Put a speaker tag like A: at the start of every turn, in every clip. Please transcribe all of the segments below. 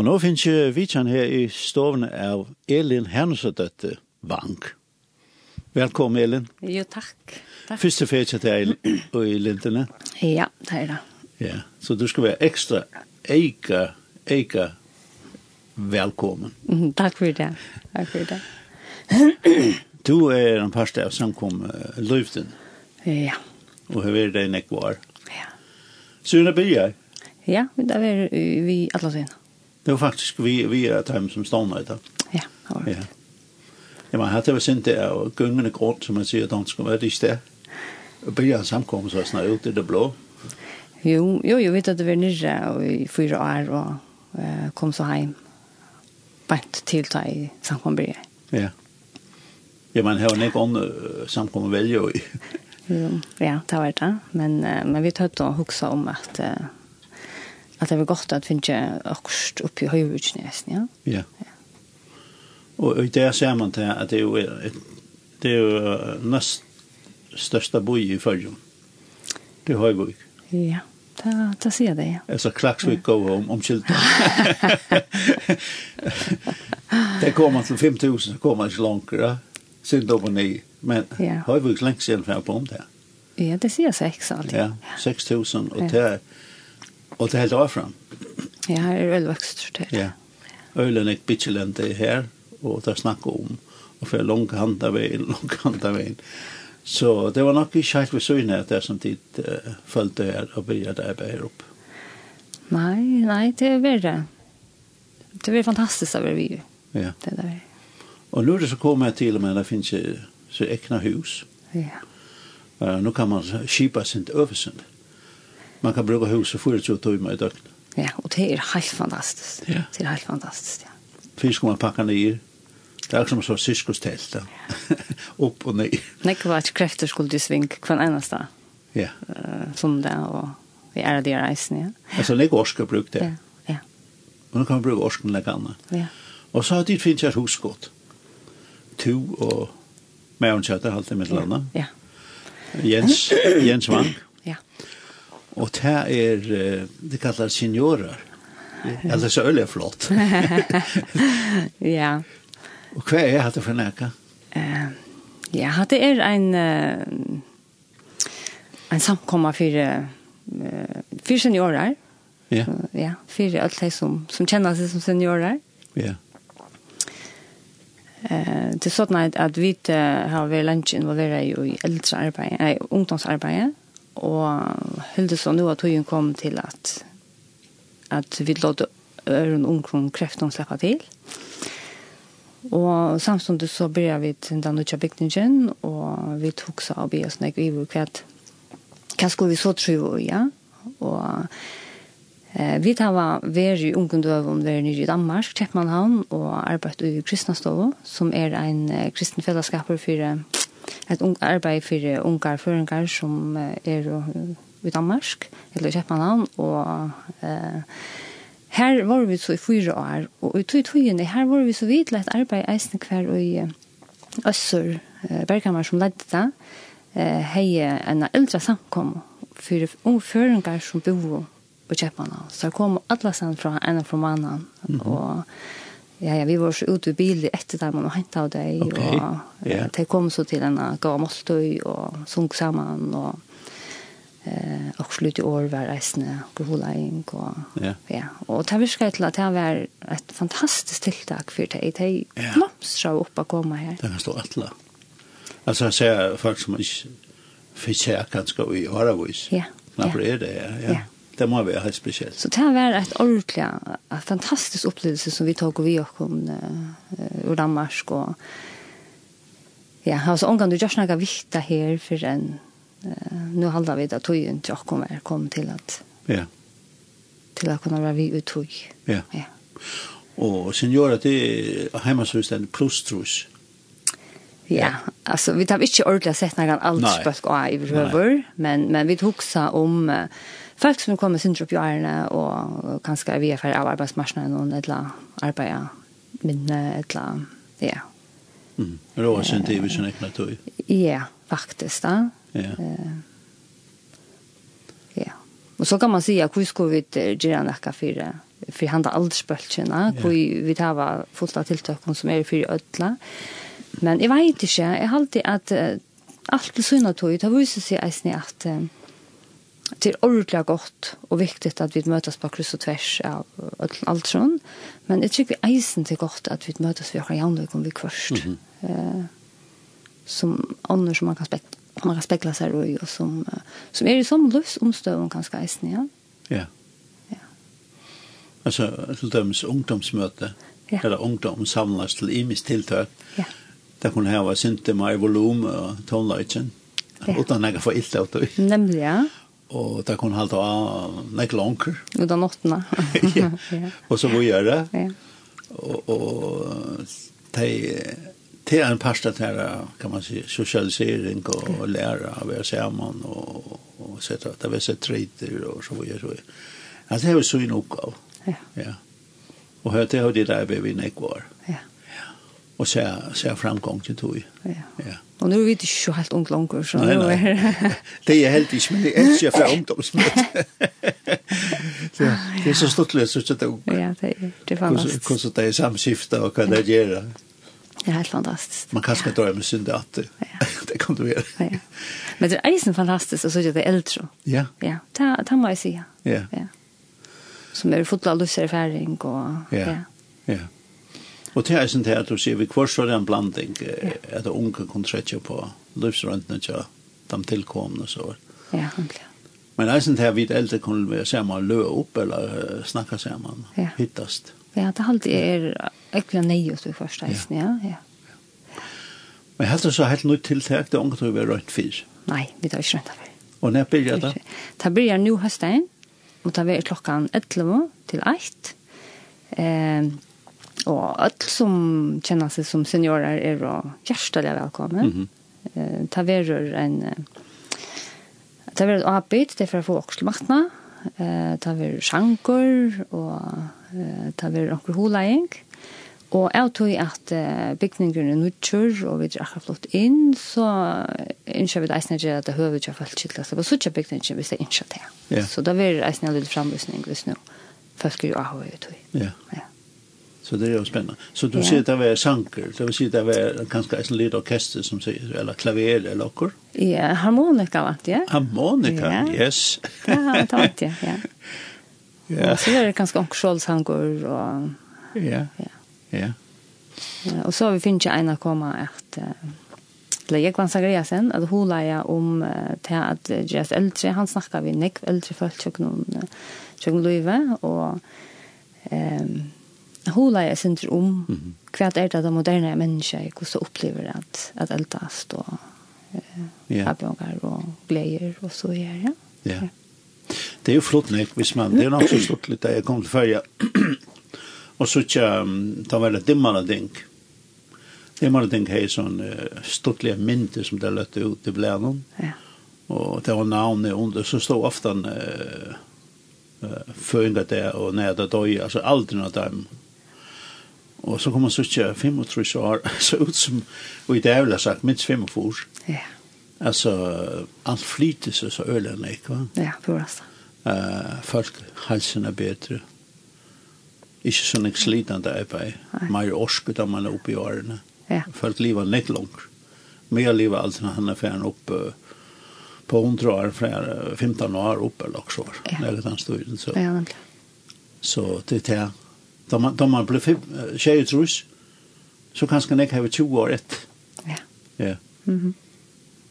A: Og nå finnes jeg vidtjen her i stovene av Elin Hernesadøtte Bank. Velkommen, Elin.
B: Jo, takk. takk.
A: Første ferie til deg og i Lindene.
B: Ja, det er det.
A: Ja, så du skal være ekstra eika, eika velkommen.
B: Mm, Takk for det. Takk for det.
A: Du er en parste av samkommet Løyfden
B: Ja,
A: eh, og har vært deg nekvar.
B: ja.
A: Sune Byer,
B: Ja, det er vi, vi alle siden.
A: det var faktisk vi, vi er dem som stående i dag.
B: Ja, det var det.
A: Ja. Ja, man har det er var sent der, og gyngende grund, som man siger, dansk, hvad er det i sted? Og bliver en samkommet, så snart ud i det blå.
B: Jo, jo, jo, vet at det var nyrre og i fyra år og eh, kom så hjem. Bant til ta i samkommer.
A: Ja. Ja, man har jo ikke andre samkommet vælge jo i.
B: Jo, ja, det var det. Men, eh, men vi tatt og huksa om at, eh, at det var godt at vi ikke akkurat oppi høyvudsnesen, ja.
A: Ja. Og, og der ser man til, at det er jo, et, det er jo næst største by i Følgen. Det er Højvøk.
B: Ja, det, det sier det, ja.
A: Altså Klaksvik går om, om Kilden. der kommer man til 5.000, så kommer man ikke langt, da. Sind op og ned. Men
B: Ja.
A: Højvøk længe siden for jeg på om det.
B: Ja, det sier seks alltid.
A: Ja, 6.000, og
B: Ja.
A: det er, og det er helt overfram.
B: Ja, her er ølvokst til.
A: Ja. Ølen er bitchelent det her, og der snakker om, og for langt hand av veien, langt hand av veien. Så det var nok ikke helt ved syne at jeg samtidig uh, følte her og begynte der bare opp.
B: Nei, nei, det er verre. Det er fantastisk å være vi.
A: Ja.
B: Det er der.
A: Og nå er det så kom jeg til og med, det finnes jo så ekne hus.
B: Ja.
A: Uh, nå kan man skipa sin øvelsen. Man kan bruke huset 24 timer i døgnet.
B: ja, og det er helt fantastisk.
A: Ja.
B: Det er helt fantastisk, ja.
A: Først skal man pakke ned. Det er ikke som så syskostelt. da. opp og ned.
B: Nekk var et er krefter skulle du svinke hver eneste
A: Ja.
B: uh, sondag og vi er av de reisene, ja.
A: Altså, det er ikke orske å bruke det.
B: Ja, ja,
A: Og nå kan man bruke orsken eller annet.
B: ja.
A: Og så har dit finnes jeg et husgått. Tu og Mævnkjøtter, alt det mitt landa.
B: Ja,
A: Jens, Jens Wang.
B: ja.
A: Og det er, eh, det kallar seniorer. Eller så øl er flott.
B: Ja,
A: Og hva er hatt det for nækka?
B: Eh, ja, det er en eh, en samkomma för eh, för seniorer.
A: Ja,
B: Ja, för alla de som som känner sig som seniorer.
A: ja,
B: Eh, det är så att, att vi eh, har varit lunch involverade i äldre arbete, nej, ungdomsarbete. Och höll så nu att hon kom till att att vi låter öron omkring kräftan släppa till. Och samtidigt så började vi till den nya byggningen och vi tog så av oss när vi var kvätt. Vad skulle vi så tro i, ja? Och eh, vi tar var veri i ungdomdøven veri nere i Danmark, Kjeppmannhavn, og arbeid i Kristnastovo, som er en eh, kristen fellesskap for eh, et ung arbeid for ungar føringar som eh, er eh, i Danmark, eller i Kjeppmannhavn, og eh, her var vi så i fyra år, og i tog togene, her var vi så vidt lett arbeid eisne hver og i eh, Øssur eh, Berghammer som ledde det, eh, hei eh, en eldre samkom for ungføringar som bor på Kjeppana. Så det kom alle sammen fra en og fra mannen.
A: Mhm.
B: Og ja, ja, vi var så ute i bil etter dem og hentet av deg.
A: Ok,
B: Og
A: ja.
B: eh, de kom så til en gav måltøy og sunk sammen. Og eh, og slutt i år var reisende og holaing. Og,
A: Ja.
B: ja. og det virker til at det var et fantastisk tiltak for det. De
A: Ja.
B: blomstra opp å komme her.
A: det kan stå atla. Altså, jeg ser folk som ikke fikk her kanskje i årevis.
B: Ja,
A: Knapper
B: ja.
A: er det, ja. ja.
B: Ja.
A: Det må være helt spesielt.
B: Så det här var ett ordentligt, ett fantastiskt upplevelse som vi tog och vi och kom eh, ur Danmark. Och, ja, alltså omgående görs några vikta här för en eh, nu handlar vi att tog inte jag kommer kom till att
A: Ja,
B: till att kunna vara vi ut tog.
A: ja.
B: Ja.
A: Og seniorer, det er heimansvistende plustrus.
B: Ja, alltså vi har inte ordentligt sett någon alls
A: Nej.
B: spösk och i över, men men vi tog om eh, folk som kommer sin upp i ärna och och kanske er vi är för av arbetsmarknaden och eller arbeta minne eller ja.
A: Mm. Råa sin tid, hvis hun ikke nødt til.
B: Ja, faktiskt då.
A: Ja.
B: eh, Ja. Och så kan man säga hur ska vi göra en vecka för för eh, handa aldersböltjena, yeah. vi vi tar fullt av tiltøkken som er för ödla. Men jag vet inte, jag har alltid att uh, allt till syna tog, det visar sig eisen att uh, det er är ordentligt gott och viktigt att vi mötas på kryss och tvärs av allt sånt. Men jag tycker eisen till gott att vi mötas vid våra jämlik om vi kvörst. Mm -hmm. uh, som annor som man kan spekla, man kan spekla sig i och som, uh, som är i sån livsomstövning ganska eisen, ja.
A: Ja. Yeah. Alltså till döms ungdomsmöte. Ja. Eller ungdom samlas till imis tilltag.
B: Ja.
A: Där hon här var synte mig volym och tonlöjtsen.
B: Ja.
A: Utan jag får illt ut.
B: Nämligen, ja.
A: Och där hon halta av näck långker.
B: Utan åttna.
A: ja. Och så vad gör det?
B: Ja.
A: Och, och de, det är en pasta här kan man säga socialisering och, och lära av er samman och, och sätta att det er är så tritter och så vad gör så. Alltså det är ju så en uppgave.
B: Ja.
A: Ja. Og hørte jeg det der ved vi ikke var.
B: Ja.
A: Og så så framgång til tog.
B: Ja.
A: Ja.
B: Og nå er vi ikke så helt ung langer, så
A: Nei,
B: nå
A: nei.
B: er
A: Det er jeg helt ikke, men jeg elsker fra ungdomsmøte. Så det er så stort løs ut at det
B: Ja, det er, det er fantastisk.
A: hvordan det er samskiftet og hva det gjør.
B: Det er helt fantastisk.
A: Man kan ikke dra med synd at det,
B: Ja.
A: det kan du gjøre.
B: Ja. Men det er eisen fantastisk, og så er det eldre.
A: Ja,
B: Ja, det, det må jeg si, ja.
A: ja,
B: ja. Som er fotla lusserfæring og...
A: ja, ja. Og det er sånn her at du sier, vi kvarstår en blanding, eh, at unge kan tretje på livsrøntene til de tilkomne og så. Ja.
B: Ja, ordentlig.
A: Men eisen til vi eldre kunne være sammen og løe opp, eller eh, snakke sammen,
B: Ja.
A: hittast.
B: Ja, det er alltid er ekkelig nøye til første eisen, ja. ja.
A: Men jeg hadde så helt nytt tiltak, det er unge til å være rødt fyr.
B: Nei, vi tar ikke rønt av det.
A: Og når blir det?
B: Det blir nu høsten, og det blir klokkan 11 til 1. Eh, og alle som kjenner seg som seniorer er jo hjertelig velkommen. Mm eh, det blir en... eh, Det blir et arbeid, det er for å få okselmaktene. Eh, det blir sjanker, og eh, det blir noen holegjeng. Og jeg tror at eh, bygningene er nødtjør, og vi er akkurat flott inn, så innskjer vi det eisne gjør at det høver ikke folk til å så ikke bygningene hvis det innskjer det.
A: Ja.
B: Så da blir det eisne litt framløsning hvis nå folk er jo av og ut.
A: Ja,
B: Ja.
A: så det er jo spennende. Så du
B: Ja.
A: sier det er sanker, det vil si det er kanskje en liten orkester som sier, eller klaver eller noe.
B: Ja, eh, harmonika vant jeg.
A: Harmonika,
B: Ja.
A: yes.
B: Ja, det vant jeg, ja.
A: Ja,
B: Og så er det ganske omkjølsangur, og
A: ja,
B: ja.
A: ja.
B: Eh, Og så har vi finnet ikke en å komme at eh, eller jeg kan sagre sen at hun leia om eh, til at Jess eldre, han snakka vi nekv eldre folk eh, tjøkken noen tjøkken løyve, og um, hun leia synder om hva er det det moderne mennesket, hvordan opplever at, at eldast og
A: Ja,
B: avbjørnger og gleder og så gjør, ja.
A: ja. Det er jo flott nek, hvis man, det er nok så stort litt da jeg kom til ferja. og så ikke, um, det var det dimmere ding. Dimmere ding hei sånn uh, stortlige mynter som det løtte ut i blænen.
B: ja.
A: Og det var navnet under, så stod ofte uh, uh, føringer der og nede der døy, altså aldri av dem. Og så kom man så ikke 35 år, så ut som, og i det jeg ville ha sagt, minst 45.
B: Ja,
A: Altså, alt flyter seg så ølende, ikke va?
B: ja, er på rasta.
A: eh folk halsen er bedre. Ikke sånn ikke slitende arbeid.
B: Nei.
A: Mer orske da man er oppe i årene.
B: Ja,
A: Folk lever litt langt. Mer lever alt når han er ferdig opp eh, på 100 år, fra 15 år opp eller også år.
B: Ja.
A: Når han står inn, så,
B: ja, nemlig.
A: så det er det. Da man, da man blir fem, eh, tjej trus, så kanskje han ikke har 20 år etter.
B: Ja,
A: Ja.
B: mhm.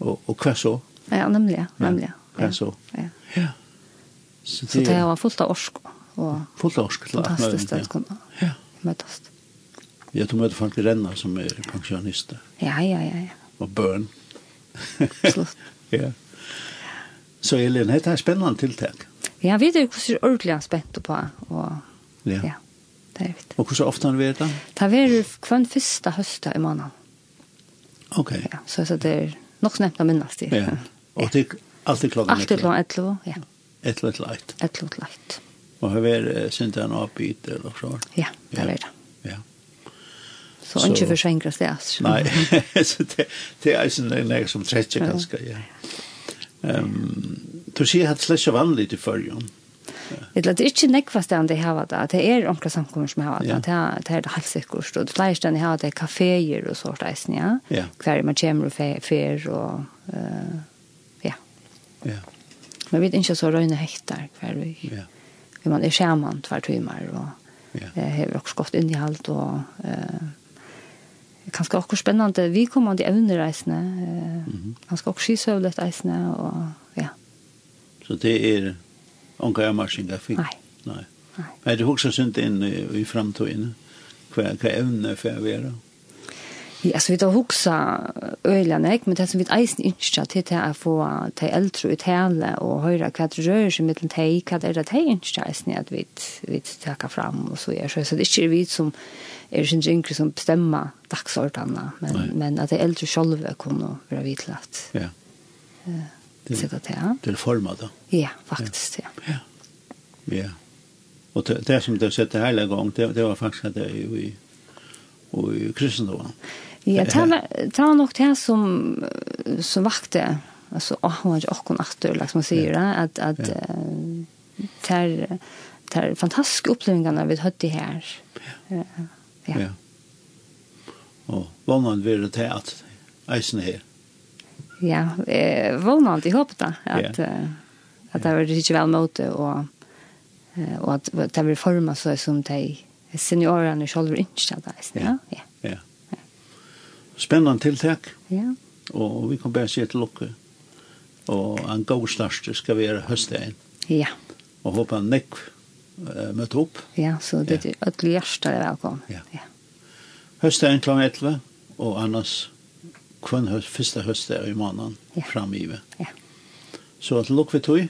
A: Og, og hva så?
B: ja nemlig, ja, nemlig.
A: Hva så?
B: Ja.
A: Ja. Så
B: Så
A: det
B: det
A: er
B: var fullt av orsk og
A: fullt orske til alt mulig,
B: fantastiskt
A: ja.
B: att kunna
A: Ja.
B: mötas.
A: Ja, du møter folk i renna som er pensjonister
B: Ja, ja, ja, ja.
A: og børn.
B: Absolut.
A: ja. Så Elin, dette er spennende tiltak.
B: Ja, vi er hvordan ordentlig spent på, og
A: Ja.
B: ja, det er vidt.
A: Og hvordan ofte har du vært da?
B: Det er hver første høsta i måneden,
A: Ok.
B: ja, så, så det er nok så nevnt å minnes det.
A: Ja. Og det er alltid klokken
B: Alt er klokken 11, ja,
A: Et eller annet leit.
B: 11 til 1.
A: Og har eh, vært sint en avbit eller så.
B: Ja, det
A: Ja.
B: er det.
A: Ja.
B: Så
A: Så-
B: ikke for svengres det, altså.
A: Nei, så det, det er sånn en leg som Ehm, tretter ganske, ja. Um, du sier at det er slett så vanlig i førjen.
B: Eller det er ikke nekvast enn det hava det. Det er onkla samkommer som hava det.
A: Ja.
B: Det er det er det helt sikkert. Og det flere stedene hava det er kaféer og sånt eisen, ja.
A: Ja.
B: Hver man kommer og fe- fer og eh, ja.
A: Ja.
B: Men vi er ikke så røyne hektar hver vi.
A: Ja.
B: Vi man er skjermann hver timer og
A: Ja.
B: eh, hever også godt innihalt og eh, kanskje også spennende. Vi kommer til evnereisene. Eh,
A: Mhm.
B: Kanskje også skisøvlet eisene og ja.
A: Så det er onka jag marschinga fick.
B: Nei.
A: Nej.
B: Nei.
A: Men det huxar sig inte in i, i framtiden. Kvar kvar ämne för jag vara.
B: Ja, så vi tar hoksa øyene, eh, ikke? men det som vi eisen ikke til er til å få de eldre i tale og høre hva det rører seg mellom de, hva det er det de ikke eisen at vi, vi takker fram og så gjør. Så så det er ikke vi som er sin yngre som bestemmer dagsordene, men,
A: Nei.
B: men at de eldre selv kunne være vidlatt.
A: Ja.
B: Så
A: Det
B: det er
A: det formar då.
B: ja, faktisk, ja.
A: Ja. Ja. Och det, det som det sett det hela gång det, det var faktiskt att det är ju i och i kristendomen.
B: Ja, Er det var, det var nok det som, som vakte, altså, åh, hun var ikke åkken atter, liksom man sier det, at, at
A: Ja.
B: eh, det er, det er fantastiske opplevingene vi hadde her. Ja. Ja.
A: Ja. Och vad man vill det att eisen er här.
B: ja. Eh, Vånant, jeg håper det, at,
A: Ja.
B: eh, at det var ikke vel måte, og, eh, og at det var formet så som de seniorene selv ikke hadde. Ja, ja.
A: Ja. Spännande tilltag.
B: Ja,
A: Og vi kan bare se til lukke. Og en god start skal være høstdagen.
B: ja.
A: Og håper han nekk uh, møtte opp.
B: ja så det er ødelig hjertet er velkommen.
A: Ja.
B: ja.
A: Høstdagen kl. 11. Og annars kvann høst, første høstdag i måneden ja.
B: Ja.
A: framive.
B: Ja.
A: Så til lukke vi tog.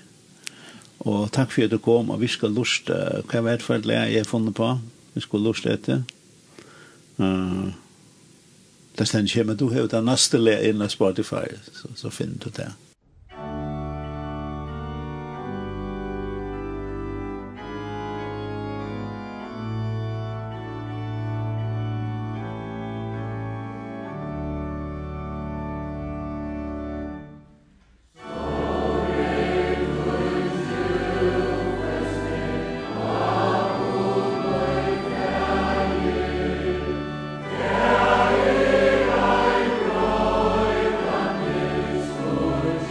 A: Og takk for at du kom. Og vi skal lust uh, hva jeg vet for et lærer jeg har funnet på. Vi skal lust etter. Uh, det stender ikke, men du har jo den neste lærer innan Spotify. Så, så finner du det.
C: Amen.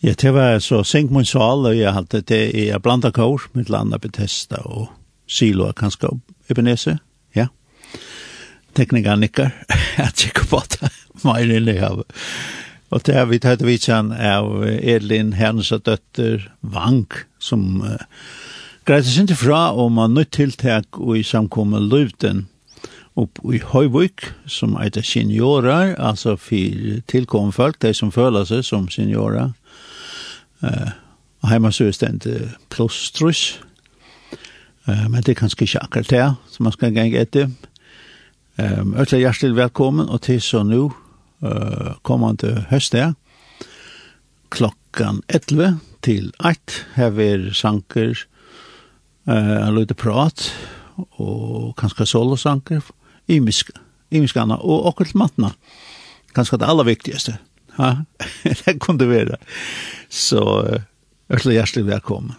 A: Ja, det var så Sink Mun Sal, og jeg hadde det i blanda kår, med landa Bethesda og Silo, kanskje Ebenese, ja. Teknikere nikker, jeg tjekker på det, mer enn jeg har. Og det har vi tatt vitsan av øh, Edlin Hernes og døtter Vank, som uh, greit seg ikke fra om man er nødt tiltak og i samkommet løvden opp i Høyvøk, som heter seniorer, altså for tilkommet folk, de som føler seg som seniorer. Uh, og hjemme så er det uh, pluss trus, uh, men det er kanskje ikke akkurat det, som man skal gjenge etter. Um, Øtla hjertelig velkommen, og til så nå, uh, kommande høstet. Klokkan 11 til 1 har vi sanker, uh, en lite prat, og kanskje solosanker, imisk, imiskana og okkult matna. Kanskje det aller viktigaste. Ja, det kunne være. Så, uh, eh, hjertelig velkommen.